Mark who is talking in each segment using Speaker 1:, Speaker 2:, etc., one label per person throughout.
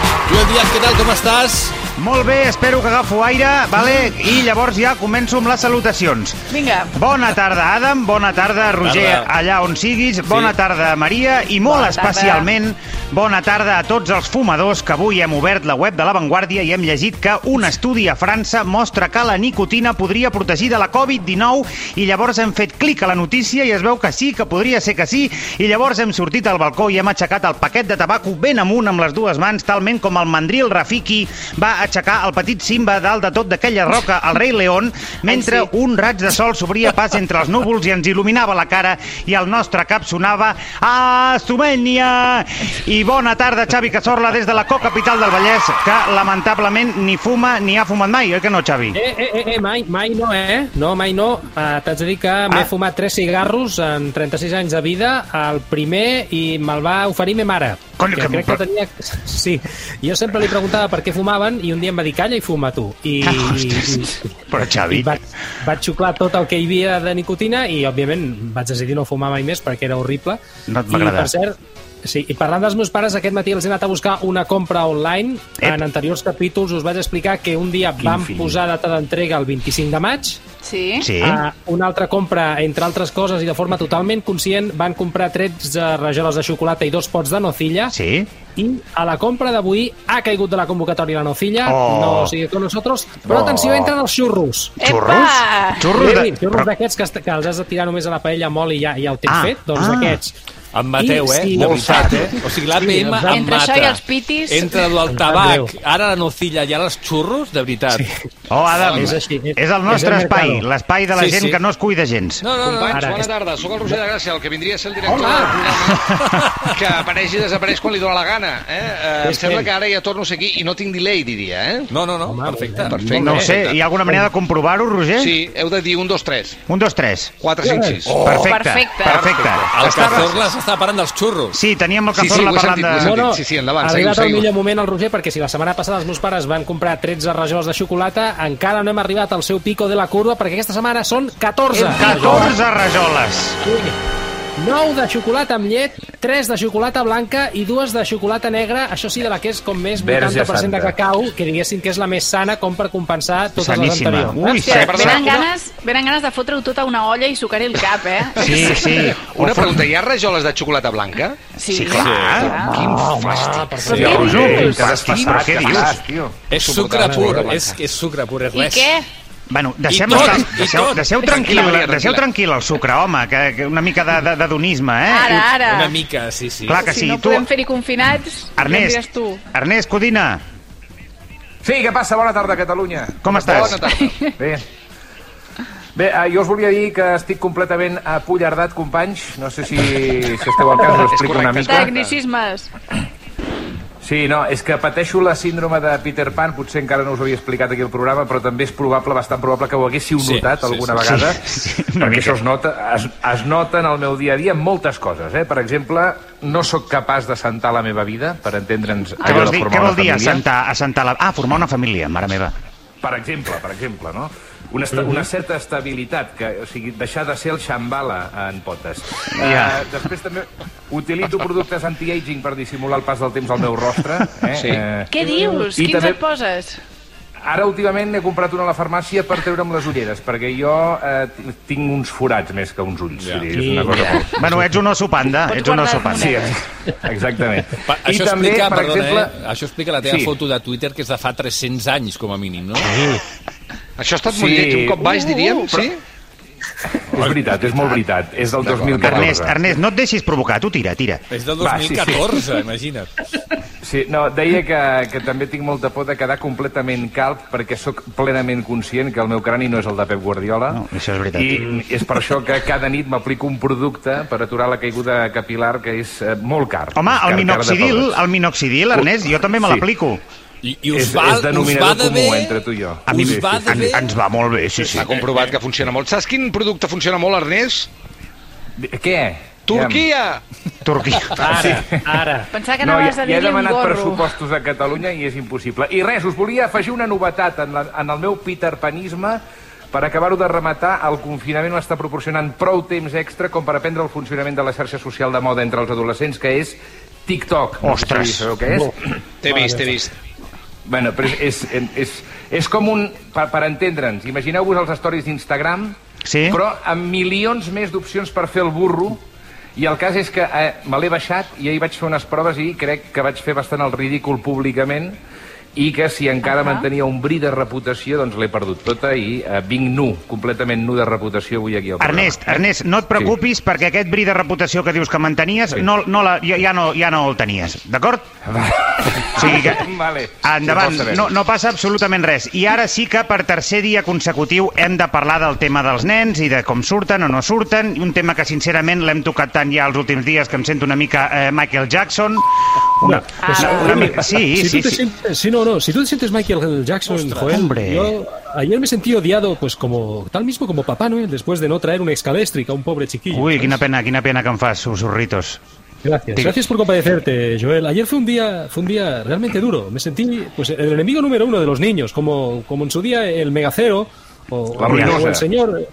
Speaker 1: Isaac, què tal, com estàs?
Speaker 2: Molt bé, espero que agafo aire, vale? i llavors ja començo amb les salutacions.
Speaker 3: Vinga.
Speaker 2: Bona tarda, Adam, bona tarda, Roger,
Speaker 1: Tarda.
Speaker 2: allà on siguis, bona tarda, Maria, i molt
Speaker 3: Bona tarda.
Speaker 2: especialment bona tarda a tots els fumadors que avui hem obert la web de La Vanguardia i hem llegit que un estudi a França mostra que la nicotina podria protegir de la Covid-19 i llavors hem fet clic a la notícia i es veu que sí, que podria ser que sí, i llavors hem sortit al balcó i hem aixecat el paquet de tabaco ben amunt amb les dues mans, talment com el mandril Rafiki va aixecar el petit Simba dalt de tot d'aquella roca, el rei León, mentre
Speaker 3: Ai, sí.
Speaker 2: un raig de sol s'obria pas entre els núvols i ens il·luminava la cara i el nostre cap sonava a Estomènia! I bona tarda, Xavi Casorla, des de la co-capital del Vallès, que lamentablement ni fuma ni ha fumat mai, oi que no, Xavi?
Speaker 4: Eh, eh, eh, eh, mai, mai no, eh? No, mai no. Uh, T'haig de dir que m'he fumat tres cigarros en 36 anys de vida. El primer i me'l va oferir me mare.
Speaker 2: Cony,
Speaker 4: que
Speaker 2: que-
Speaker 4: crec que tenia... Sí, jo sempre li preguntava per què fumaven i un dia em va dir calla i fuma tu. I,
Speaker 2: Ah,
Speaker 4: i, i,
Speaker 2: ostres. Però, Xavi...
Speaker 4: i vaig, vaig xuclar tot el que hi havia de nicotina i, òbviament, vaig decidir no fumar mai més perquè era horrible.
Speaker 2: No et va
Speaker 4: I,
Speaker 2: agradar.
Speaker 4: per cert, sí, i parlant dels meus pares, aquest matí els he anat a buscar una compra online.
Speaker 2: Ep.
Speaker 4: Ep. En anteriors capítols us vaig explicar que un dia
Speaker 2: Quin
Speaker 4: Quin vam
Speaker 2: fill. Eh?
Speaker 4: posar data d'entrega el 25 de maig,
Speaker 3: Sí?
Speaker 2: Sí?
Speaker 4: a una altra compra, entre altres coses i de forma totalment conscient, van comprar 13 rajoles de xocolata i dos pots de nocilla.
Speaker 2: Sí?
Speaker 4: I a la compra d'avui ha caigut de la convocatòria la nocilla,
Speaker 2: Oh.
Speaker 4: no sigue con nosotros, però
Speaker 2: Oh.
Speaker 4: atenció, entren els xurros.
Speaker 2: Xurros? Xurros de...
Speaker 4: Kevin, xurros
Speaker 2: Però...
Speaker 4: d'aquests que, est- que els has de tirar només a la paella amb oli i ja, ja ho tens
Speaker 2: Ah,
Speaker 4: fet, doncs
Speaker 2: ah.
Speaker 4: d'aquests.
Speaker 1: Em mateu,
Speaker 4: I
Speaker 1: eh?
Speaker 4: si-
Speaker 1: de veritat, eh? O sigui, l'APM
Speaker 4: Sí,
Speaker 1: em
Speaker 4: em sap-
Speaker 1: mata.
Speaker 3: Entre això i els pitis.
Speaker 1: Entre el
Speaker 4: sap greu.
Speaker 1: tabac, ara la nocilla i ara els xurros, de veritat. Sí.
Speaker 2: Oh, Adam,
Speaker 4: És
Speaker 2: és,
Speaker 4: així, és-
Speaker 2: és el
Speaker 4: és
Speaker 2: nostre
Speaker 4: el
Speaker 2: espai,
Speaker 4: mercado.
Speaker 2: l'espai de la
Speaker 1: Sí,
Speaker 2: gent
Speaker 1: sí.
Speaker 2: que no es cuida gens.
Speaker 1: No, no, no.
Speaker 5: Companys,
Speaker 4: Ara,
Speaker 5: bona
Speaker 4: és-
Speaker 5: tarda. Sóc el Roger de Gràcia, el que vindria a ser el director
Speaker 4: Hola.
Speaker 5: del programa, que apareix i desapareix quan li dóna la gana. Eh? Eh, em
Speaker 4: És
Speaker 5: sembla
Speaker 4: ell.
Speaker 5: que ara ja torno a ser aquí i no tinc delay, diria. Eh?
Speaker 1: No, no, no,
Speaker 4: Home,
Speaker 1: perfecte.
Speaker 4: molt
Speaker 5: Perfecte.
Speaker 2: No ho sé, hi ha alguna manera de comprovar-ho, Roger?
Speaker 5: Sí, heu de dir 1, 2, 3,
Speaker 2: Un, dos, tres.
Speaker 5: 4, 5, 6.
Speaker 2: Oh, perfecte, perfecte.
Speaker 3: Perfecte.
Speaker 2: perfecte.
Speaker 1: El
Speaker 2: Estaves-
Speaker 1: Cazorla s'està parant dels xurros.
Speaker 2: Sí, teníem el
Speaker 5: Sí, sí,
Speaker 2: Cazorla
Speaker 5: ho he
Speaker 2: parlant
Speaker 5: sentit, ho he
Speaker 2: de...
Speaker 5: sentit.
Speaker 4: Bueno,
Speaker 5: sí, sí, endavant,
Speaker 4: ha
Speaker 5: seguiu,
Speaker 4: arribat el
Speaker 5: seguiu.
Speaker 4: millor moment el Roger perquè si la setmana passada els meus pares van comprar 13 rajoles de xocolata, encara no hem arribat al seu pico de la curva perquè aquesta setmana són 14.
Speaker 2: 14 rajoles.
Speaker 4: 9 de xocolata amb llet, 3 de xocolata blanca i 2 de xocolata negra, això sí, de la que és com més 80% de cacau, que diguéssim que és la més sana com per compensar totes
Speaker 2: Saníssima.
Speaker 4: les anteriors.
Speaker 2: Ui,
Speaker 3: Hòstia,
Speaker 2: per
Speaker 3: venen
Speaker 5: cert, una-
Speaker 3: ganes, venen ganes de fotre-ho tot a una olla i sucar-hi el cap, eh?
Speaker 2: Sí, sí.
Speaker 5: Una
Speaker 2: O fot-
Speaker 5: pregunta, hi ha rajoles de xocolata blanca?
Speaker 2: Sí, clar.
Speaker 5: Quin fàstic.
Speaker 3: Però què dius?
Speaker 2: Fàstic, però què dius?
Speaker 1: És sucre
Speaker 5: Suportable,
Speaker 1: pur,
Speaker 5: sucre
Speaker 1: és, és sucre pur, és
Speaker 3: I
Speaker 1: res.
Speaker 3: què?
Speaker 2: eh, Bueno, deixem,
Speaker 1: I tot,
Speaker 2: estar-
Speaker 1: i
Speaker 2: deixeu,
Speaker 1: tot.
Speaker 2: deixeu,
Speaker 5: Tranquil·la,
Speaker 2: tranquil,
Speaker 5: Maria,
Speaker 2: deixeu
Speaker 5: tranquil·la.
Speaker 2: tranquil el sucre, home, que, que una mica de- de- d'adonisme, eh?
Speaker 3: Ara, ara.
Speaker 1: Una mica, sí, sí.
Speaker 2: Clar que
Speaker 3: Si
Speaker 2: sí.
Speaker 3: no
Speaker 2: Tu,
Speaker 3: podem fer-hi confinats, què em diràs
Speaker 2: Ernest,
Speaker 3: tu?
Speaker 2: Ernest Codina,
Speaker 6: Sí, què passa? Bona tarda, Catalunya.
Speaker 2: com estàs?
Speaker 5: Bona tarda.
Speaker 6: Bé. Bé, eh, jo us volia dir que estic completament apollardat, companys. No sé si, si esteu al cas, us ho explico una
Speaker 5: correcte.
Speaker 6: mica.
Speaker 3: Tecnicismes.
Speaker 6: Sí, no, és que pateixo la síndrome de Peter Pan, potser encara no us ho havia explicat aquí al programa, però també és probable, bastant probable, que ho haguéssiu
Speaker 1: Sí,
Speaker 6: notat
Speaker 1: sí,
Speaker 6: alguna
Speaker 1: sí,
Speaker 6: vegada.
Speaker 2: sí, sí, una
Speaker 6: perquè
Speaker 2: mica.
Speaker 6: això es nota, es, es nota en el meu dia a dia en moltes coses, eh? Per exemple, no sóc capaç de sentar la meva vida, per entendre'ns
Speaker 2: Què
Speaker 6: allò
Speaker 2: vols
Speaker 6: de
Speaker 2: dir,
Speaker 6: formar
Speaker 2: què
Speaker 6: una
Speaker 2: vol dir
Speaker 6: família.
Speaker 2: assentar, assentar la... Ah, formar una família, mare meva.
Speaker 6: per exemple, per exemple, no? Una, esta, una certa estabilitat, que, o sigui, deixar de ser el xambala en potes.
Speaker 2: Ja.
Speaker 6: Eh, després també utilitzo productes anti-aging per dissimular el pas del temps al meu rostre. Eh?
Speaker 5: Sí.
Speaker 6: Eh,
Speaker 3: Què dius?
Speaker 6: I
Speaker 3: Quins
Speaker 6: també-
Speaker 3: et poses?
Speaker 6: Ara, últimament, he comprat una a la farmàcia per treure'm les ulleres, perquè jo eh, ti- tinc uns forats més que uns ulls. Ja. És una cosa molt...
Speaker 2: Bueno, ets un oso panda,
Speaker 3: Pots
Speaker 2: ets un
Speaker 3: guardar
Speaker 2: oso
Speaker 3: les
Speaker 2: panda.
Speaker 6: Sí,
Speaker 3: monedes.
Speaker 6: ex- exactament.
Speaker 1: Pa això,
Speaker 6: també,
Speaker 1: explica,
Speaker 6: per
Speaker 1: perdona,
Speaker 6: exemple...
Speaker 1: eh? això explica la teva
Speaker 6: Sí.
Speaker 1: foto de Twitter, que és de fa 300 anys, com a mínim, no?
Speaker 5: Això ha estat molt
Speaker 6: Sí.
Speaker 5: lleig, un cop baix, diríem, sí?
Speaker 6: És veritat, és molt veritat. És del
Speaker 5: D'acord.
Speaker 6: 2014.
Speaker 2: Ernest, Ernest, no et deixis provocar, tu tira, tira.
Speaker 1: És del
Speaker 6: Va, sí, sí.
Speaker 1: 2014, imagina't.
Speaker 6: Sí, no, deia que, que també tinc molta por de quedar completament calb perquè sóc plenament conscient que el meu crani no és el de Pep Guardiola.
Speaker 2: No, això és veritat.
Speaker 6: I és per això que cada nit m'aplico un producte per aturar la caiguda capilar que és eh, molt car.
Speaker 2: Home,
Speaker 6: És car,
Speaker 2: el minoxidil,
Speaker 6: car de
Speaker 2: el minoxidil, Ernest, jo també me
Speaker 6: Sí.
Speaker 2: l'aplico.
Speaker 1: I, i
Speaker 6: És-
Speaker 1: us
Speaker 6: és
Speaker 1: va, us va
Speaker 6: denominador
Speaker 1: de
Speaker 6: comú
Speaker 1: bé...
Speaker 6: entre tu i jo.
Speaker 2: A mi
Speaker 1: us va de
Speaker 2: en,
Speaker 1: bé...
Speaker 2: ens va molt bé, sí, sí.
Speaker 5: S'ha comprovat que funciona molt. Saps quin producte funciona molt, Ernest?
Speaker 6: totes. Què?
Speaker 5: Turquia!
Speaker 2: Turquia.
Speaker 4: Ara, ara.
Speaker 3: Pensava que
Speaker 6: No, ja,
Speaker 3: anaves a
Speaker 6: ja he
Speaker 3: dir-li un
Speaker 6: demanat
Speaker 3: gorro.
Speaker 6: pressupostos a Catalunya i és impossible. I res, us volia afegir una novetat en, la, en el meu peterpanisme per acabar-ho de rematar, el confinament m'està proporcionant prou temps extra com per aprendre el funcionament de la xarxa social de moda entre els adolescents, que és TikTok. No sé
Speaker 2: Ostres.
Speaker 6: si sabeu què és.
Speaker 5: T'he vist, t'he vist.
Speaker 6: Bueno, però és, és, és, és com un... Per, per entendre'ns, imagineu-vos els stories d'Instagram,
Speaker 2: Sí.
Speaker 6: però amb milions més d'opcions per fer el burro, i el cas és que eh, me l'he baixat i ahir vaig fer unes proves i crec que vaig fer bastant el ridícul públicament i que si encara mantenia un bri de reputació, doncs l'he perdut tota i eh, vinc nu, completament nu de reputació avui aquí al programa.
Speaker 2: Ernest, Ernest, no et preocupis perquè aquest bri de reputació que dius que mantenies
Speaker 6: Sí.
Speaker 2: no, no la, ja, ja, no, ja no el tenies, d'acord? O sigui que...
Speaker 6: Vale.
Speaker 2: Endavant,
Speaker 6: Sí, pots
Speaker 2: no,
Speaker 6: saber-ho.
Speaker 2: no passa absolutament res. I ara sí que per tercer dia consecutiu hem de parlar del tema dels nens i de com surten o no surten, un tema que sincerament l'hem tocat tant ja els últims dies que em sento una mica eh, Michael Jackson. Una,
Speaker 3: Ah.
Speaker 2: una, una mica... Sí,
Speaker 4: si
Speaker 2: sí,
Speaker 4: tú
Speaker 2: sí.
Speaker 4: te sientes, sí, no, no, si tú te sientes Michael Jackson, Joel,
Speaker 2: hombre.
Speaker 4: yo ayer me sentí odiado, pues como tal mismo como Papá Noel, después de no traer una excaléstrica, un pobre chiquillo.
Speaker 2: Ui,
Speaker 4: ¿sabes?
Speaker 2: quina pena, quina pena que em fas, susurritos.
Speaker 4: Gracias.
Speaker 2: Diga.
Speaker 4: Gracias por compadecerte, Joel. Ayer fue un día, fue un día realmente duro. Me sentí pues el enemigo número uno de los niños, como, como en su día el megacero o,
Speaker 6: La
Speaker 4: o
Speaker 6: ruinosa.
Speaker 4: el señor eh,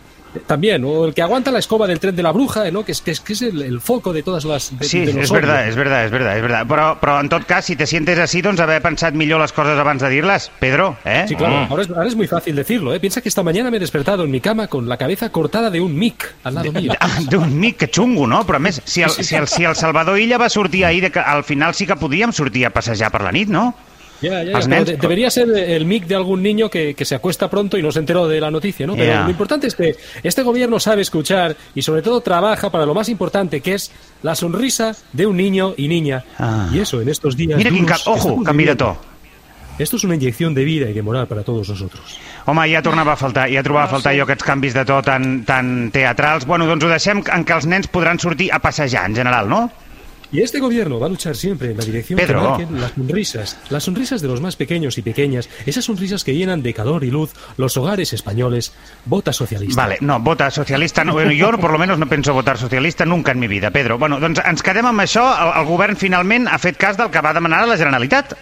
Speaker 4: también, o el que aguanta la escoba del tren de la bruja, eh, ¿no? Que es, que es, que es el, el foco de todas las de-
Speaker 2: Sí,
Speaker 4: de los
Speaker 2: és
Speaker 4: odios.
Speaker 2: verdad, és verdad, és verdad, és verdad. Però, però en tot cas, si te sientes així, doncs haver pensat millor les coses abans de dir-les, Pedro, eh?
Speaker 4: Sí, claro. Ahora, es, ahora es muy fácil decirlo, ¿eh? Piensa que esta mañana me he despertado en mi cama con la cabeza cortada de un mic al lado mío.
Speaker 2: Ah, Déu mi, que xungo, no? Però a més, si el, si el, si el Salvador Illa va sortir ahir, de que al final sí que podíem sortir a passejar per la nit, no?
Speaker 4: Ya, ya, ya,
Speaker 2: Los
Speaker 4: pero
Speaker 2: nens-
Speaker 4: de- debería ser el mic de algún niño que, que se acuesta pronto y no se enteró de la noticia, ¿no? Pero
Speaker 2: Ya.
Speaker 4: lo importante es que este gobierno sabe escuchar y sobre todo trabaja para lo más importante, que es la sonrisa de un niño y niña.
Speaker 2: Ah.
Speaker 4: Y eso en estos días.
Speaker 2: Mira quin
Speaker 4: duros
Speaker 2: cap...
Speaker 4: que
Speaker 2: Ojo,
Speaker 4: estamos
Speaker 2: canvi de
Speaker 4: viviendo.
Speaker 2: to.
Speaker 4: Esto es una inyección de vida y de moral para todos nosotros.
Speaker 2: Home, ja tornava a faltar, ja trobava a faltar jo aquests canvis de to tan, tan teatrals. Bueno, doncs ho deixem en què els nens podran sortir a passejar, en general, no?
Speaker 4: Y este gobierno va a luchar siempre en la dirección
Speaker 2: Pedro.
Speaker 4: que marquen las sonrisas, las sonrisas de los más pequeños y pequeñas, esas sonrisas que llenan de calor y luz los hogares españoles. Vota socialista.
Speaker 2: Vale, no, vota socialista. No, bueno, jo, por lo menos, no penso votar socialista nunca en mi vida, Pedro. Bueno, doncs ens quedem amb això. El, el govern finalment ha fet cas del que va demanar a la Generalitat.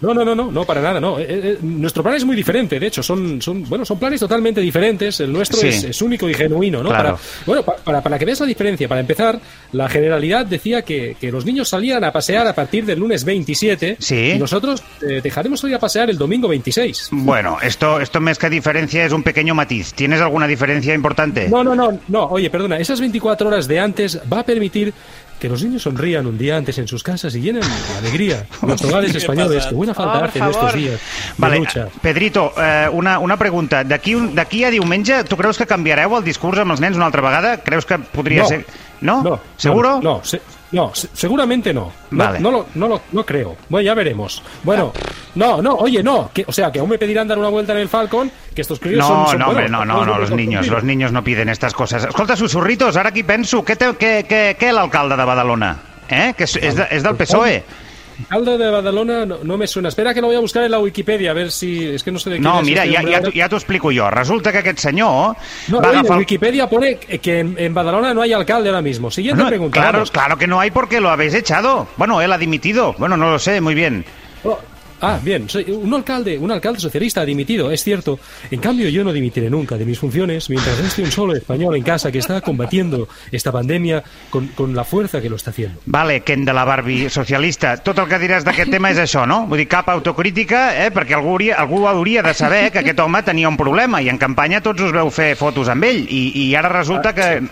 Speaker 4: No, no, no, no, no, para nada, no. Eh, eh, nuestro plan es muy diferente, de hecho, son, son, bueno, son planes totalmente diferentes. El nuestro
Speaker 2: Sí.
Speaker 4: es, es único y genuino, ¿no?
Speaker 2: Claro.
Speaker 4: Para, bueno, pa- para, para que veas la diferencia, para empezar, la generalidad decía que, que los niños salían a pasear a partir del lunes 27
Speaker 2: Sí.
Speaker 4: y nosotros eh, dejaremos salir a pasear el domingo 26.
Speaker 2: Bueno, esto, esto més que diferencia es un pequeño matiz. ¿Tienes alguna diferencia importante?
Speaker 4: No, no, no, no, oye, perdona, esas 24 horas de antes va a permitir que los niños sonrían un día antes en sus casas y llenen de alegría los hogares españoles que buena falta
Speaker 3: Ah, Por
Speaker 4: hacen estos
Speaker 3: favor.
Speaker 4: días. de
Speaker 2: Vale,
Speaker 4: lucha.
Speaker 2: Pedrito, eh, una, una pregunta. D'aquí un- d'aquí a diumenge, tu creus que canviareu el discurs amb els nens una altra vegada? Creus que podria
Speaker 4: No.
Speaker 2: ser... No?
Speaker 4: No,
Speaker 2: Seguro?
Speaker 4: No, no, se- no, se- seguramente no. No-
Speaker 2: Vale.
Speaker 4: No, lo, no, lo, no creo. Bueno, ya veremos. Bueno, no, no, oye, no. que- o sea, que aún me pedirán dar una vuelta en el Falcon, que estos críos
Speaker 2: No,
Speaker 4: son, son
Speaker 2: no, hombre,
Speaker 4: buenos,
Speaker 2: no, no,
Speaker 4: son
Speaker 2: no, los
Speaker 4: buenos
Speaker 2: niños, los
Speaker 4: contigo.
Speaker 2: niños no piden estas cosas. Escolta, susurritos, ara aquí penso, què, te, què, què, què l'alcalde de Badalona? Eh? Que és, és, de, és del PSOE.
Speaker 4: Alcalde de Badalona no, no me suena. Espera que lo voy a buscar en la Wikipedia, a ver si... Es que no sé de quién
Speaker 2: No,
Speaker 4: es
Speaker 2: mira,
Speaker 4: este
Speaker 2: ja,
Speaker 4: hombre
Speaker 2: ja,
Speaker 4: ahora.
Speaker 2: t'ho- ja t'ho explico jo. Resulta que aquest senyor
Speaker 4: No,
Speaker 2: va
Speaker 4: oye, en
Speaker 2: agafar... el-
Speaker 4: Wikipedia pone que en, en Badalona no hay alcalde ahora mismo. Siguiente
Speaker 2: No,
Speaker 4: pregunta.
Speaker 2: claro,
Speaker 4: vamos.
Speaker 2: claro que no hay porque lo habéis echado. Bueno, él ha dimitido. Bueno, no lo sé, muy bien.
Speaker 4: Oh, Ah, bien, soy un alcalde, un alcalde socialista ha dimitido, es cierto. En cambio, yo no dimitiré nunca de mis funciones mientras esté un solo español en casa que está combatiendo esta pandemia con, con la fuerza que lo está haciendo.
Speaker 2: Vale, Ken de la Barbie socialista. Tot el que diràs d'aquest tema és això, no? Vull dir, cap autocrítica, eh? perquè algú hauria, algú hauria de saber que aquest home tenia un problema i en campanya tots us veu fer fotos amb ell i, i ara resulta que...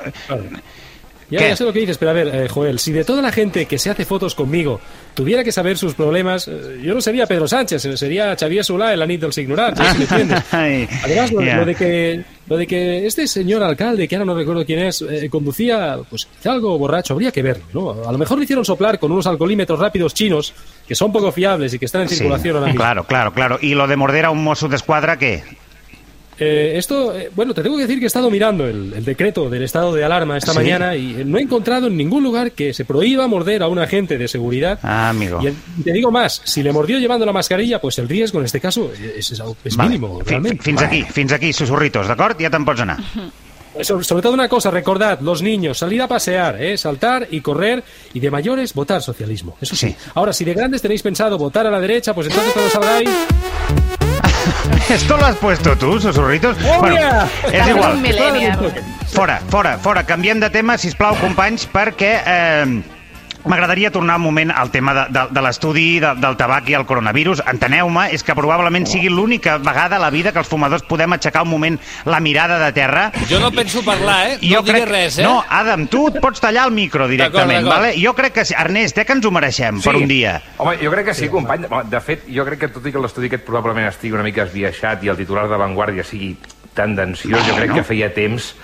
Speaker 4: Ya,
Speaker 2: ¿Qué?
Speaker 4: ya sé lo que dices, pero a ver, eh, Joel, si de toda la gente que se hace fotos conmigo tuviera que saber sus problemas, eh, yo no sería Pedro Sánchez, eh, sería Xavier Solá, el anillo dels ignorants, ¿me entiendes?
Speaker 2: Ai,
Speaker 4: Además, lo,
Speaker 2: ja.
Speaker 4: lo de que, lo de que este señor alcalde, que ahora no recuerdo quién es, eh, conducía pues quizá algo borracho, habría que verlo, ¿no? A lo mejor le hicieron soplar con unos alcoholímetros rápidos chinos, que son poco fiables y que están en
Speaker 2: Sí,
Speaker 4: circulación ahora mismo.
Speaker 2: claro, claro, claro. I lo de morder a un mosso d'esquadra, què?
Speaker 4: Eh, esto, eh, bueno, te tengo que decir que he estado mirando el, el decreto del estado de alarma esta
Speaker 2: ¿Sí?
Speaker 4: mañana y eh, no he encontrado en ningún lugar que se prohíba morder a un agente de seguridad.
Speaker 2: Ah, amigo.
Speaker 4: Y el- y te digo más, si le mordió llevando la mascarilla, pues el riesgo en este caso es, es- es
Speaker 2: Vale.
Speaker 4: mínimo,
Speaker 2: Fi-
Speaker 4: realmente.
Speaker 2: Fins aquí, fins aquí, susurritos, d'acord? Ja te'n pots anar.
Speaker 4: Eh, So- Sobre todo una cosa, recordad, los niños, salir a pasear, ¿eh? saltar y correr, y de mayores votar socialismo. Eso sí.
Speaker 2: Sí.
Speaker 4: Ahora, si de grandes tenéis pensado votar a la derecha, pues entonces todos sabráis.
Speaker 2: Esto lo has puesto tu, susurritos?
Speaker 4: Oh, yeah.
Speaker 2: és
Speaker 3: Eres
Speaker 2: igual.
Speaker 3: un millennial.
Speaker 2: Fora, fora, fora. Canviem de tema, si us plau, companys, perquè eh, M'agradaria tornar un moment al tema de, de, de l'estudi de, del tabac i el coronavirus. Enteneu-me, és que probablement sigui l'única vegada a la vida que els fumadors podem aixecar un moment la mirada de terra.
Speaker 1: Jo no penso parlar, eh? No diré res, eh?
Speaker 2: No, Adam, tu et pots tallar el micro directament,
Speaker 1: D'acord, d'acord.
Speaker 2: vale? Jo crec que... sí. Ernest, eh, que ens ho mereixem per un dia.
Speaker 6: Home, jo crec que sí, company. Home, De fet, jo crec que tot i que l'estudi aquest probablement estigui una mica esbiaixat i el titular de Vanguardia sigui tendenciós,
Speaker 2: Ah,
Speaker 6: jo crec que feia temps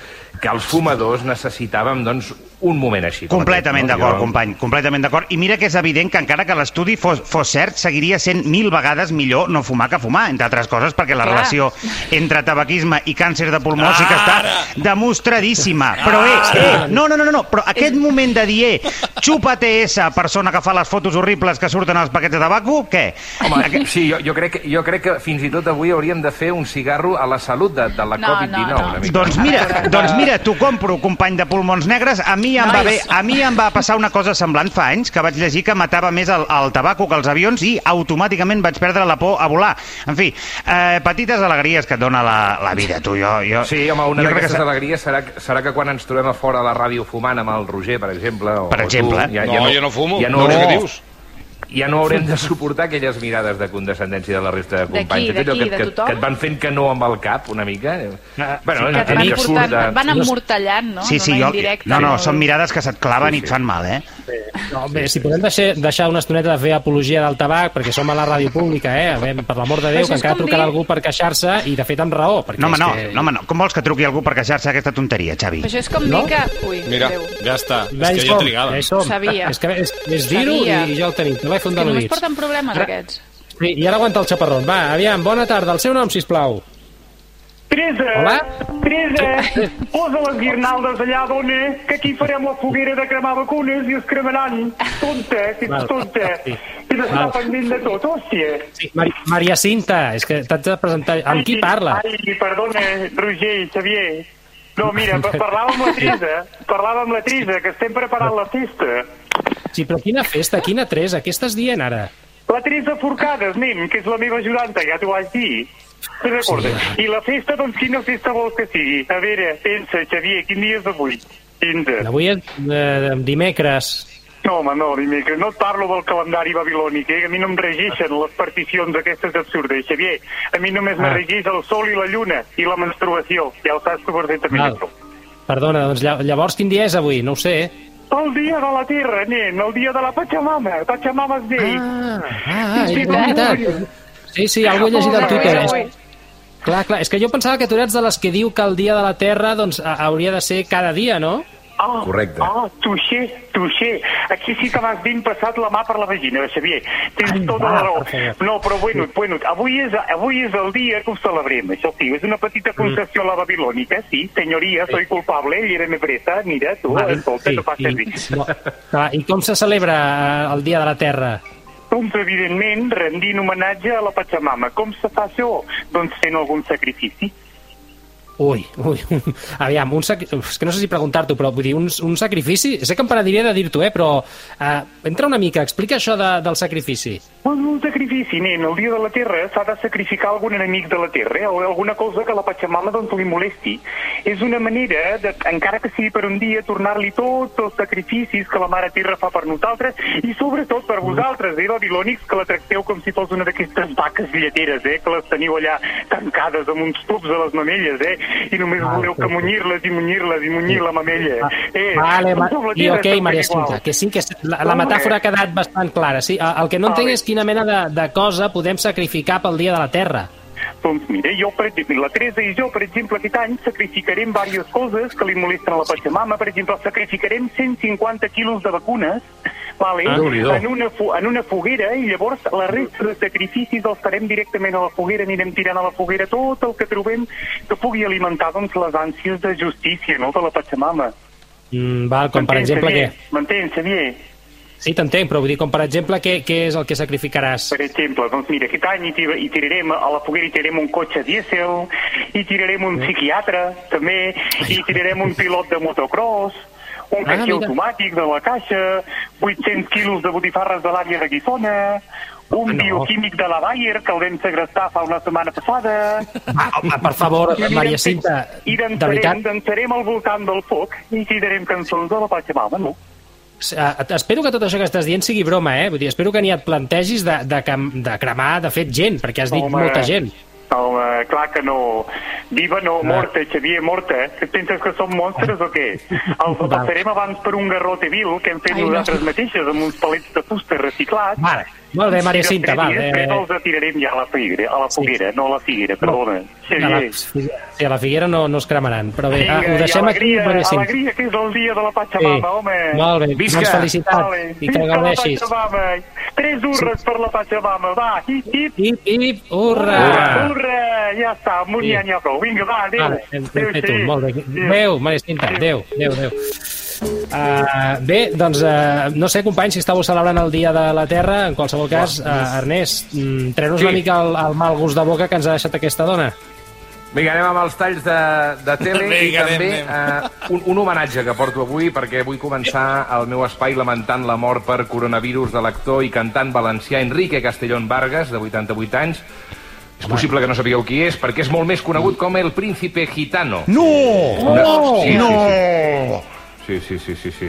Speaker 6: que els fumadors necessitàvem, doncs, un moment així. com
Speaker 2: Completament
Speaker 6: aquest, no?
Speaker 2: d'acord,
Speaker 6: Jo-
Speaker 2: company, completament d'acord. I mira que és evident que encara que l'estudi fos, fos cert, seguiria sent mil vegades millor no fumar que fumar, entre altres coses, perquè la
Speaker 3: Clar.
Speaker 2: relació entre tabaquisme i càncer de pulmó sí que
Speaker 1: Ara!
Speaker 2: està demostradíssima. Però, eh, eh, no, no, no, no, no, però aquest moment de dir, eh, xupa TS, persona que fa les fotos horribles que surten als paquets de tabaco, què?
Speaker 6: Home, que- sí, jo, jo, crec, que- jo crec que fins i tot avui hauríem de fer un cigarro a la salut de, de la
Speaker 3: No, no,
Speaker 6: Covid-19.
Speaker 3: no.
Speaker 6: una mica.
Speaker 2: Doncs mira, doncs mira, t'ho compro, company de pulmons negres. A mi, em va
Speaker 3: Nois.
Speaker 2: bé, a mi em va passar una cosa semblant fa anys, que vaig llegir que matava més el, el tabaco que els avions i automàticament vaig perdre la por a volar. En fi, eh, petites alegries que et dona la, la vida, tu. Jo, jo,
Speaker 6: Sí, home, una
Speaker 2: jo crec
Speaker 6: d'aquestes
Speaker 2: que-
Speaker 6: alegries serà, que- serà que quan ens trobem a fora a la ràdio fumant amb el Roger, per exemple... O,
Speaker 2: Per exemple.
Speaker 6: O tu, ja,
Speaker 5: No, jo no fumo.
Speaker 6: Ja no,
Speaker 5: No,
Speaker 6: haurem,
Speaker 5: què dius?
Speaker 6: Ja no haurem de suportar aquelles mirades de condescendència de la resta de
Speaker 3: D'aquí,
Speaker 6: companys. Aquello
Speaker 3: d'aquí,
Speaker 6: que,
Speaker 3: de
Speaker 6: que,
Speaker 3: tothom?
Speaker 6: que et van fent que no amb el cap, una mica. eh?
Speaker 2: Ah,
Speaker 6: Bueno,
Speaker 3: Que et
Speaker 6: a mi
Speaker 3: van,
Speaker 6: que surt
Speaker 3: portant,
Speaker 6: de-
Speaker 3: et van emmortellant, no?
Speaker 2: Sí, sí,
Speaker 3: D'una
Speaker 2: jo...
Speaker 3: indirecta,
Speaker 2: No, no,
Speaker 3: molt-
Speaker 2: són mirades que se't claven i et fan mal, eh?
Speaker 4: No, home, si podem deixar, deixar una estoneta de fer apologia del tabac, perquè som a la ràdio pública, eh? A veure, per l'amor de
Speaker 3: Això
Speaker 4: Déu,
Speaker 3: és
Speaker 4: que encara
Speaker 3: com
Speaker 4: trucarà
Speaker 3: dir-
Speaker 4: algú per queixar-se, i de fet amb raó. Perquè
Speaker 2: No, home,
Speaker 4: és
Speaker 2: no,
Speaker 4: que...
Speaker 2: no, home, no. Com vols que truqui algú per queixar-se d'aquesta tonteria, Xavi?
Speaker 3: Però Això és com
Speaker 4: No?
Speaker 3: dir que... Ui,
Speaker 5: Mira.
Speaker 3: Déu.
Speaker 1: Ja està,
Speaker 4: Ja
Speaker 1: és
Speaker 4: hi
Speaker 1: que ja
Speaker 4: som,
Speaker 1: trigàvem.
Speaker 4: ja hi som.
Speaker 3: Sabia.
Speaker 4: És que és, és dir-ho i,
Speaker 3: Sabia.
Speaker 4: i ja el tenim. Telèfon
Speaker 3: Que
Speaker 4: de
Speaker 3: només
Speaker 4: l'Udits.
Speaker 3: porten problemes, aquests.
Speaker 4: Sí, I ara aguanta el xaparrón. Va, aviam, bona tarda. El seu nom, sisplau.
Speaker 7: Teresa,
Speaker 4: Hola?
Speaker 7: Teresa, um posa les guirnaldes allà, dona, que aquí farem la foguera de cremar vacunes i es cremaran. Tonta, si
Speaker 4: Val.
Speaker 7: ets tonta.
Speaker 4: Sí.
Speaker 7: I d'estar
Speaker 4: Val.
Speaker 7: pendent de tot, hòstia.
Speaker 4: Sí, Mari Maria Cinta, és que t'haig de presentar... Amb qui
Speaker 7: Ai,
Speaker 4: parla?
Speaker 7: Ai, perdona, Roger i Xavier. No, mira, pa- parlava amb la Teresa, parlava amb la Teresa, que estem preparant la festa.
Speaker 4: Sí, però quina festa, quina tresa, què estàs dient ara?
Speaker 7: La Teresa Forcades, nen, que és la meva ajudanta, ja t'ho vaig dir. Te'n recordes? I la festa, doncs, quina festa vols que sigui? A veure, pensa, Xavier, quin dia és avui? 15.
Speaker 4: Avui és eh, dimecres.
Speaker 7: No, home, no, dimecres. No et parlo del calendari babilònic, eh? A mi no em regeixen les particions aquestes absurdes, Xavier. A mi només ah. me
Speaker 4: Ah.
Speaker 7: regeix el sol i la lluna i la menstruació. Ja ho saps tu perfectament,
Speaker 4: Val.
Speaker 7: això.
Speaker 4: Perdona, doncs lla- llavors quin dia és avui? No ho sé.
Speaker 7: El dia de la Terra, nen, el dia de la Pachamama. Pachamama es deia.
Speaker 4: Ah, ah,
Speaker 7: Sí,
Speaker 4: és
Speaker 7: sí,
Speaker 4: veritat. Sí, sí, algú he llegit
Speaker 3: Molt
Speaker 4: al
Speaker 3: bé,
Speaker 4: Twitter.
Speaker 3: avui.
Speaker 4: És- Clar, clar, és que jo pensava que tu eres de les que diu que el dia de la Terra doncs, ha- hauria de ser cada dia, no?
Speaker 7: Ah,
Speaker 6: Correcte.
Speaker 7: Ah, touché, touché. Aquí sí que m'has ben passat la mà per la vagina, Xavier. Tens Ai, tota
Speaker 4: va,
Speaker 7: la raó.
Speaker 4: per favor.
Speaker 7: No, però bueno, bueno, avui és, avui és el dia que ho celebrem, això sí. És una
Speaker 4: Mm.
Speaker 7: petita concessió a la Babilònica, sí. Senyoria, soy culpable, llera me presa, mira, tu,
Speaker 4: Va, i-
Speaker 7: escolta, no passa
Speaker 4: i,
Speaker 7: res.
Speaker 4: no, clar, I com se celebra eh, el dia de la Terra?
Speaker 7: Doncs, evidentment, rendint homenatge a la Pachamama. Com se fa això? Doncs fent algun sacrifici.
Speaker 4: Ui, ui, aviam, un sac... Uf, és que no sé si preguntar-t'ho, però vull dir, un, un sacrifici... Sé que em pararia de dir-t'ho, eh, però eh, entra una mica, explica això de, del sacrifici.
Speaker 7: Doncs un sacrifici, nen. El dia de la Terra s'ha de sacrificar algun enemic de la Terra eh? o alguna cosa que la Pachamama doncs, li molesti. És una manera, de, encara que sigui per un dia, tornar-li tots els sacrificis que la Mare Terra fa per nosaltres i sobretot per vosaltres, eh, babilònics, que la tracteu com si fos una d'aquestes vaques lleteres, eh, que les teniu allà tancades amb uns tubs a les mamelles, eh, i només
Speaker 4: Ah,
Speaker 7: voleu
Speaker 4: sí,
Speaker 7: que
Speaker 4: sí.
Speaker 7: munyir-les i munyir-les i munyir la mamella. Eh,
Speaker 4: vale, ma...
Speaker 7: doncs amb la
Speaker 4: i
Speaker 7: Terra
Speaker 4: ok,
Speaker 7: estem
Speaker 4: Maria
Speaker 7: igual.
Speaker 4: Cinta, que sí que la, la metàfora ha quedat bastant clara, sí? El el que no entenc
Speaker 7: Vale.
Speaker 4: és quina mena de, de cosa podem sacrificar pel dia de la Terra.
Speaker 7: Doncs mira, jo, per exemple, la Teresa i jo, per exemple, aquest any sacrificarem diverses coses que li molesten a la Pachamama. Per exemple, sacrificarem 150 quilos de vacunes vale,
Speaker 6: Ah, Déu-n'hi-do.
Speaker 7: en, una, fo- en una foguera i llavors la resta de sacrificis els farem directament a la foguera, anirem tirant a la foguera tot el que trobem que pugui alimentar doncs, les ànsies de justícia no, de la Pachamama.
Speaker 4: Mm, val, com per
Speaker 7: M'entens,
Speaker 4: exemple què?
Speaker 7: Xavier? M'entens, Xavier?
Speaker 4: Sí, t'entenc, però vull dir, com per exemple què, què és el que sacrificaràs?
Speaker 7: Per exemple, doncs mira, aquest any hi, tira- hi tirarem a la foguera, hi tirarem un cotxe dièsel, hi tirarem un psiquiatre, també, hi tirarem un pilot de motocross, un
Speaker 4: Ah,
Speaker 7: caixer
Speaker 4: mira.
Speaker 7: automàtic de la caixa, 800 quilos de botifarres de l'àrea de Guissona, un
Speaker 4: No.
Speaker 7: bioquímic de la Bayer, que el vam segrestar fa una setmana passada...
Speaker 4: Ah, home, per favor,
Speaker 7: I
Speaker 4: Maria
Speaker 7: dansarem-
Speaker 4: Cinta,
Speaker 7: I
Speaker 4: de veritat...
Speaker 7: dansarem, dansarem al voltant del foc i tirarem cançons de la Pachamama, no?
Speaker 8: eh, espero que tot això que estàs dient sigui broma, eh? Vull dir, espero que ni et plantegis de, de, cam- de cremar, de fet, gent, perquè has dit
Speaker 7: Home.
Speaker 8: molta gent.
Speaker 7: Home, clar que no. uh, Viva no,
Speaker 8: Ah.
Speaker 7: morta, Xavier, morta. Que penses que som monstres o què? Els
Speaker 8: Val.
Speaker 7: passarem abans per un garrote vil que hem fet
Speaker 3: Ai, no.
Speaker 7: nosaltres mateixes amb uns palets de fusta reciclats.
Speaker 8: Vale. Molt bé, Maria Cinta, va.
Speaker 7: I
Speaker 8: Eh,
Speaker 7: després els atirarem ja a la figuera, a la foguera, no a la figuera, perdona.
Speaker 8: a la,
Speaker 7: Xavier.
Speaker 8: sí, a la Figuera no, no es cremaran, però bé, ah,
Speaker 7: Vinga,
Speaker 8: ho
Speaker 7: i
Speaker 8: deixem aquí,
Speaker 7: alegria,
Speaker 8: Maria Cinta.
Speaker 7: alegria, que és el dia de la
Speaker 8: Sí.
Speaker 7: Pachamama, home.
Speaker 8: Molt bé,
Speaker 6: Visca.
Speaker 8: doncs felicitats
Speaker 7: Vale.
Speaker 8: i que
Speaker 7: Visca la
Speaker 8: gaudeixis.
Speaker 7: Pachamama. Tres urres per la Pachamama, va, hip, hip.
Speaker 8: Ip, ip, hurra!
Speaker 7: Urra, ja està, amb un
Speaker 8: Sí.
Speaker 7: sí. ja n'hi ha prou. Vinga, va, adéu.
Speaker 8: Vale, hem, hem Ah, fet un,
Speaker 7: Xavier.
Speaker 8: molt bé.
Speaker 7: Adéu.
Speaker 8: Adéu, Maria Cinta, adéu, adéu, adéu. Uh, bé, doncs uh, no sé, companys, si estàveu celebrant el Dia de la Terra, en qualsevol cas, uh, Ernest, mm, treu-nos
Speaker 6: Sí.
Speaker 8: una mica el, el mal gust de boca que ens ha deixat aquesta dona.
Speaker 6: Vinga, anem amb els talls de, de tele i
Speaker 1: Vinga,
Speaker 6: també
Speaker 1: anem,
Speaker 6: eh, un, un homenatge que porto avui perquè vull començar el meu espai lamentant la mort per coronavirus de l'actor i cantant valencià Enrique Castellón Vargas, de 88 anys. És possible que no sapigueu qui és, perquè és molt més conegut com el príncipe gitano.
Speaker 2: No!
Speaker 6: No!
Speaker 2: No!
Speaker 6: Sí, sí, sí, sí, sí.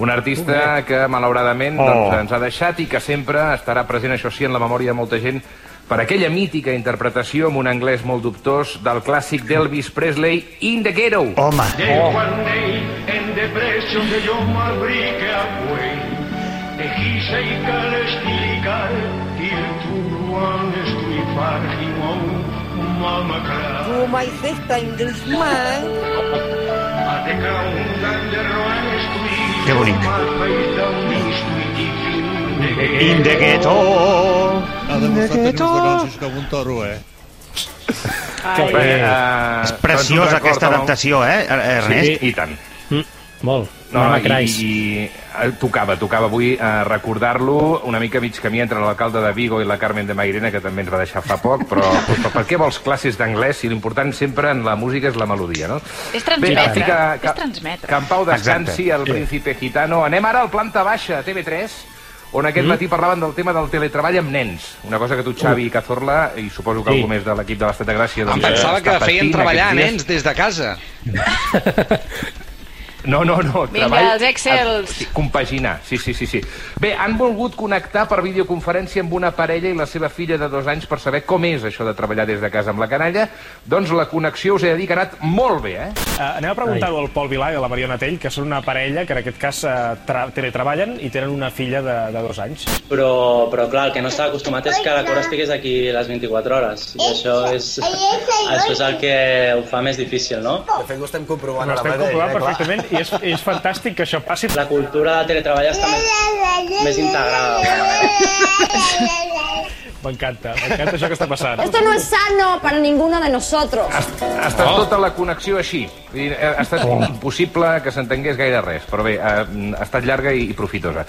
Speaker 6: Un artista que, malauradament, doncs,
Speaker 2: Oh.
Speaker 6: ens ha deixat i que sempre estarà present, això sí, en la memòria de molta gent, per aquella mítica interpretació amb un anglès molt dubtós del clàssic d'Elvis Presley, In the Ghetto. Eh,
Speaker 2: Home, oh, que bonic. In the ghetto. In the ghetto.
Speaker 6: Bé, eh,
Speaker 2: És preciosa
Speaker 6: doncs un record
Speaker 2: aquesta
Speaker 6: amb el-
Speaker 2: adaptació, eh, Ernest?
Speaker 6: Sí, i tant.
Speaker 8: Molt. No, Mama
Speaker 6: i,
Speaker 8: Crais.
Speaker 6: i eh, tocava, tocava avui eh, recordar-lo una mica mig camí entre l'alcalde de Vigo i la Carmen de Mairena, que també ens va deixar fa poc, però, però per què vols classes d'anglès si l'important sempre en la música és la melodia, no?
Speaker 3: És transmetre,
Speaker 6: Bé, estic a-
Speaker 3: és transmetre.
Speaker 6: Que en pau descansi
Speaker 2: Exacte.
Speaker 6: el príncipe gitano. Anem ara al planta baixa, a TV3, on
Speaker 8: Mm.
Speaker 6: aquest matí parlaven del tema del teletreball amb nens. Una cosa que tu, Xavi Cazorla, i suposo que
Speaker 8: Uh. Sí.
Speaker 6: algú més de l'equip de l'Estat de Gràcia...
Speaker 5: Em
Speaker 6: doncs,
Speaker 5: pensava
Speaker 6: està
Speaker 5: que feien
Speaker 6: patint
Speaker 5: treballar
Speaker 6: aquests dies.
Speaker 5: nens des de casa.
Speaker 6: No, no, no.
Speaker 3: Vinga,
Speaker 6: treball-
Speaker 3: els excels.
Speaker 6: Sí, compaginar, sí, sí, sí, sí. Bé, han volgut connectar per videoconferència amb una parella i la seva filla de dos anys per saber com és això de treballar des de casa amb la canalla. Doncs la connexió, us he de dir que ha anat molt bé, eh?
Speaker 9: Uh, anem a preguntar-ho al Pol Vilà i a la Mariona Tell, que són una parella que en aquest cas uh, tra teletreballen i tenen una filla de, de dos anys.
Speaker 10: Però, però clar, el que no estava acostumat és que la Cora estigués aquí les 24 hores. I això és, això és el que ho fa més difícil, no?
Speaker 11: De fet, ho estem comprovant eh,
Speaker 9: Ho
Speaker 11: a la
Speaker 9: estem
Speaker 11: Madeira,
Speaker 9: comprovant perfectament i és, és fantàstic que això passi.
Speaker 10: La cultura de teletreballar està més, més integrada. d'alguna manera.
Speaker 9: M'encanta, m'encanta això que està passant.
Speaker 11: no es sano para ninguno de nosotros.
Speaker 6: Ha, ha estat tota la connexió així. Vull dir, Ha ha estat impossible que s'entengués gaire res, però bé, ha, ha estat llarga i, i profitosa.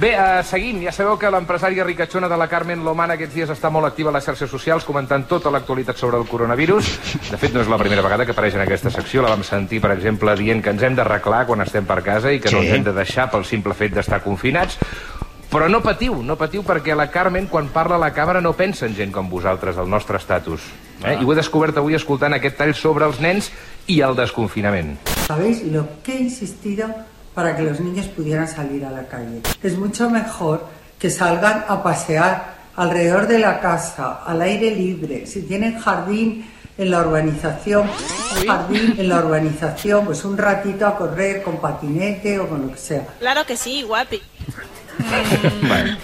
Speaker 6: Bé, eh, seguim. Ja sabeu que l'empresària ricachona de la Carmen Lomana aquests dies està molt activa a les xarxes socials comentant tota l'actualitat sobre el coronavirus. De fet, no és la primera vegada que apareix en aquesta secció. La vam sentir, per exemple, dient que ens hem d'arreglar quan estem per casa i que no
Speaker 2: Sí.
Speaker 6: ens hem de deixar pel simple fet d'estar confinats. Però no patiu, no patiu, perquè la Carmen, quan parla a la càmera, no pensa en gent com vosaltres, el nostre estatus. Eh? I ho he descobert avui escoltant aquest tall sobre els nens i el desconfinament.
Speaker 11: ¿Sabéis lo que he insistido para que los niños pudieran salir a la calle? Es mucho mejor que salgan a pasear alrededor de la casa, al aire libre. Si tienen jardín en la urbanización, jardín en la urbanización, pues un ratito a correr con patinete o con lo que sea.
Speaker 10: Claro que sí, guapi.
Speaker 6: Bueno,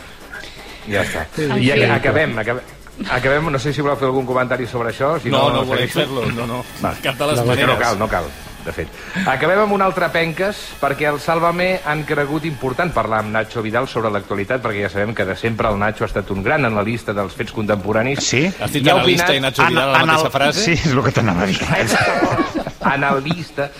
Speaker 6: ja està. I ac- acabem, acabem. Acabem, no sé si voleu fer algun comentari sobre això. Si
Speaker 1: No,
Speaker 6: no,
Speaker 1: no volem
Speaker 6: segueixo.
Speaker 1: fer-lo, no, no.
Speaker 6: Va.
Speaker 1: Cap de les
Speaker 6: No, no
Speaker 1: maneres.
Speaker 6: cal, no cal, de fet. Acabem amb un altre penques, perquè el Sálvame han cregut important parlar amb Nacho Vidal sobre l'actualitat, perquè ja sabem que de sempre el Nacho ha estat un gran analista dels fets contemporanis.
Speaker 2: Sí?
Speaker 1: Has dit
Speaker 6: I ha
Speaker 1: analista i
Speaker 6: opinat-
Speaker 1: Nacho Vidal a la
Speaker 2: En- en el-
Speaker 1: mateixa frase?
Speaker 2: Sí, és el que t'anava a dir.
Speaker 6: analista.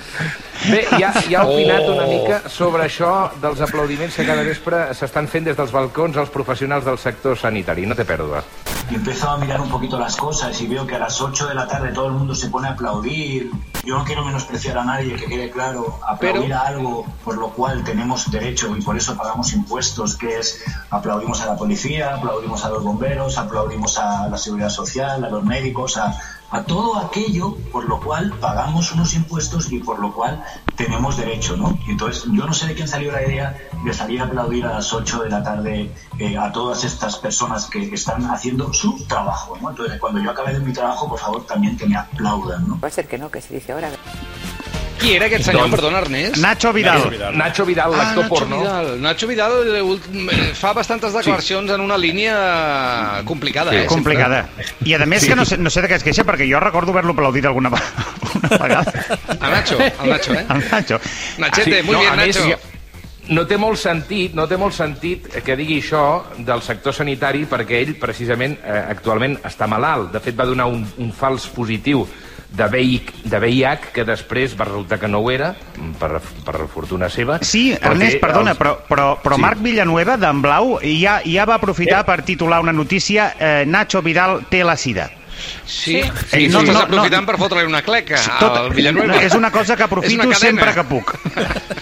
Speaker 6: Bé, ja, ja ha
Speaker 1: Oh.
Speaker 6: opinat una mica sobre això dels aplaudiments que cada vespre s'estan fent des dels balcons als professionals del sector sanitari. No té pèrdua.
Speaker 10: Y empezado a mirar un poquito las cosas y veo que a las 8 de la tarde todo el mundo se pone a aplaudir. Yo no quiero menospreciar a nadie, que quede claro, aplaudir
Speaker 5: Pero-
Speaker 10: a algo por lo cual tenemos derecho y por eso pagamos impuestos, que es aplaudimos a la policía, aplaudimos a los bomberos, aplaudimos a la seguridad social, a los médicos, a
Speaker 12: a todo aquello por lo cual pagamos unos impuestos y por lo cual tenemos derecho, ¿no? Entonces, yo no sé de quién salió la idea de salir a aplaudir a las 8 de la tarde eh, a todas estas personas que están haciendo su trabajo, ¿no? Entonces, cuando yo acabe de mi trabajo, por favor, también que me aplaudan, ¿no?
Speaker 13: Puede ser que no, que se dice ahora.
Speaker 5: Qui era aquest senyor,
Speaker 6: Doncs-
Speaker 5: perdona, Ernest?
Speaker 2: Nacho
Speaker 6: Vidal. Nacho Vidal, l'actor
Speaker 5: Ah, Nacho
Speaker 6: porno.
Speaker 5: Vidal. Nacho Vidal eh, ultim- eh, fa bastantes declaracions en una línia complicada, eh? sempre.
Speaker 2: complicada. I a més que no sé, no sé de què es queixa, perquè jo recordo haver-lo aplaudit alguna, ve- alguna vegada.
Speaker 5: A Nacho, a Nacho, eh?
Speaker 2: El Nacho.
Speaker 5: Nachete, muy bien,
Speaker 6: Ah, a més,
Speaker 5: Nacho.
Speaker 6: no té molt sentit, no té molt sentit que digui això del sector sanitari perquè ell precisament eh, actualment està malalt. De fet va donar un, un fals positiu de VIH, de VIH que després va resultar que no ho era per, per fortuna seva.
Speaker 2: Sí, Ernest, perdona, però, però, però
Speaker 6: doncs, Sí.
Speaker 2: sí. Marc Villanueva, d'en Blau, ja, ja va aprofitar per titular una notícia eh, Nacho Vidal té la sida.
Speaker 5: Sí,
Speaker 2: Ei,
Speaker 5: sí,
Speaker 2: no,
Speaker 5: no, estàs
Speaker 2: no,
Speaker 5: aprofitant per fotre-li una cleca al Ah, Villanueva.
Speaker 2: no, és una cosa que
Speaker 5: És
Speaker 2: aprofito
Speaker 5: una cadena.
Speaker 2: sempre que puc.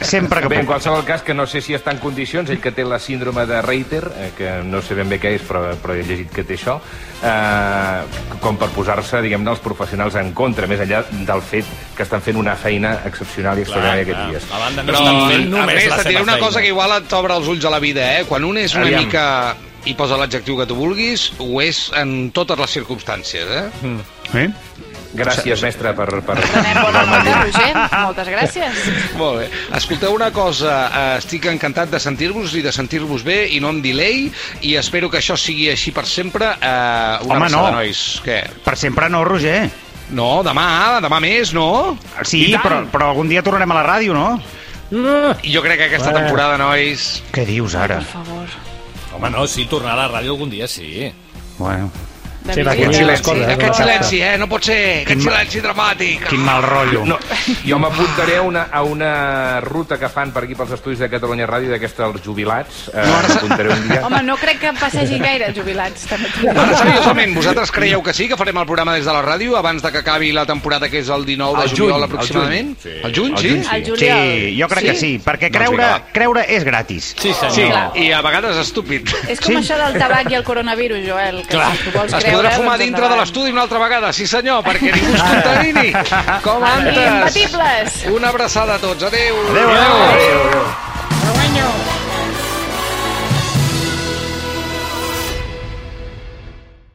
Speaker 2: Sempre que
Speaker 6: Bé, en
Speaker 2: puc.
Speaker 6: qualsevol cas, que no sé si està en condicions, ell que té la síndrome de Reiter, eh, que no sé ben bé què és, però, però he llegit que té això, eh, com per posar-se, diguem-ne, els professionals en contra, més enllà del fet que estan fent una feina excepcional i extraordinària aquests dies.
Speaker 1: Doncs, A banda, no
Speaker 5: Però,
Speaker 1: estan fent només
Speaker 5: Ernest,
Speaker 1: la
Speaker 5: Doncs, et diré
Speaker 1: seva
Speaker 5: una cosa que
Speaker 1: feina.
Speaker 5: igual et obre els ulls a la vida, eh? Quan un és una
Speaker 1: Aviam.
Speaker 5: mica i posa l'adjectiu que tu vulguis, ho és en totes les circumstàncies, eh?
Speaker 2: Eh?
Speaker 6: Gràcies, mestre, per... per...
Speaker 5: Roger,
Speaker 3: moltes gràcies.
Speaker 5: Molt bé. Escolteu una cosa, eh, estic encantat de sentir-vos i de sentir-vos bé i no amb delay i espero que això sigui així per sempre. Eh, una
Speaker 2: Home,
Speaker 5: abraçada,
Speaker 2: no.
Speaker 5: nois. Què?
Speaker 2: Per sempre no, Roger.
Speaker 5: No, demà, demà més, no?
Speaker 2: Sí, però, però algun dia tornarem a la ràdio, no?
Speaker 5: I jo crec que aquesta
Speaker 2: Bueno.
Speaker 5: temporada, nois...
Speaker 2: Què dius ara?
Speaker 3: favor.
Speaker 1: Home, no, sí, tornar a la ràdio algun dia, sí.
Speaker 2: Bueno.
Speaker 5: Sí, va,
Speaker 2: Aquest silenci, eh?
Speaker 5: Aquest silenci, eh? No pot ser.
Speaker 6: Quin
Speaker 5: Aquest
Speaker 6: ma-
Speaker 5: silenci dramàtic.
Speaker 2: Quin mal rotllo.
Speaker 6: No, jo m'apuntaré a, una, a una ruta que fan per aquí pels estudis de Catalunya Ràdio d'aquesta dels jubilats. Eh, m'apuntaré un dia.
Speaker 3: Home, no crec que passegin gaire els jubilats, també t'ho dic.
Speaker 5: Ara, seriosament, vosaltres creieu que sí, que farem el programa des de la ràdio abans de que acabi la temporada que és el 19 de
Speaker 2: Al juny,
Speaker 5: juliol
Speaker 2: al
Speaker 5: aproximadament?
Speaker 2: juny. Sí.
Speaker 5: Al juny,
Speaker 2: Al
Speaker 5: sí?
Speaker 2: juny, sí. Al juliol. Sí, jo crec que sí, perquè creure- creure és gratis. Sí, senyor.
Speaker 5: Sí, i a vegades estúpid.
Speaker 3: És com això del tabac i el coronavirus, Joel. Que
Speaker 5: Clar.
Speaker 3: si tu vols
Speaker 5: Es
Speaker 3: creure,
Speaker 5: podrà fumar
Speaker 3: doncs
Speaker 5: dintre de
Speaker 3: endavant.
Speaker 5: l'estudi una altra vegada, sí senyor, perquè ningú es
Speaker 3: Ah,
Speaker 5: contamini. Com antes.
Speaker 3: Incompatibles.
Speaker 5: Una abraçada a tots. Adéu.
Speaker 2: Adéu, adéu. adéu.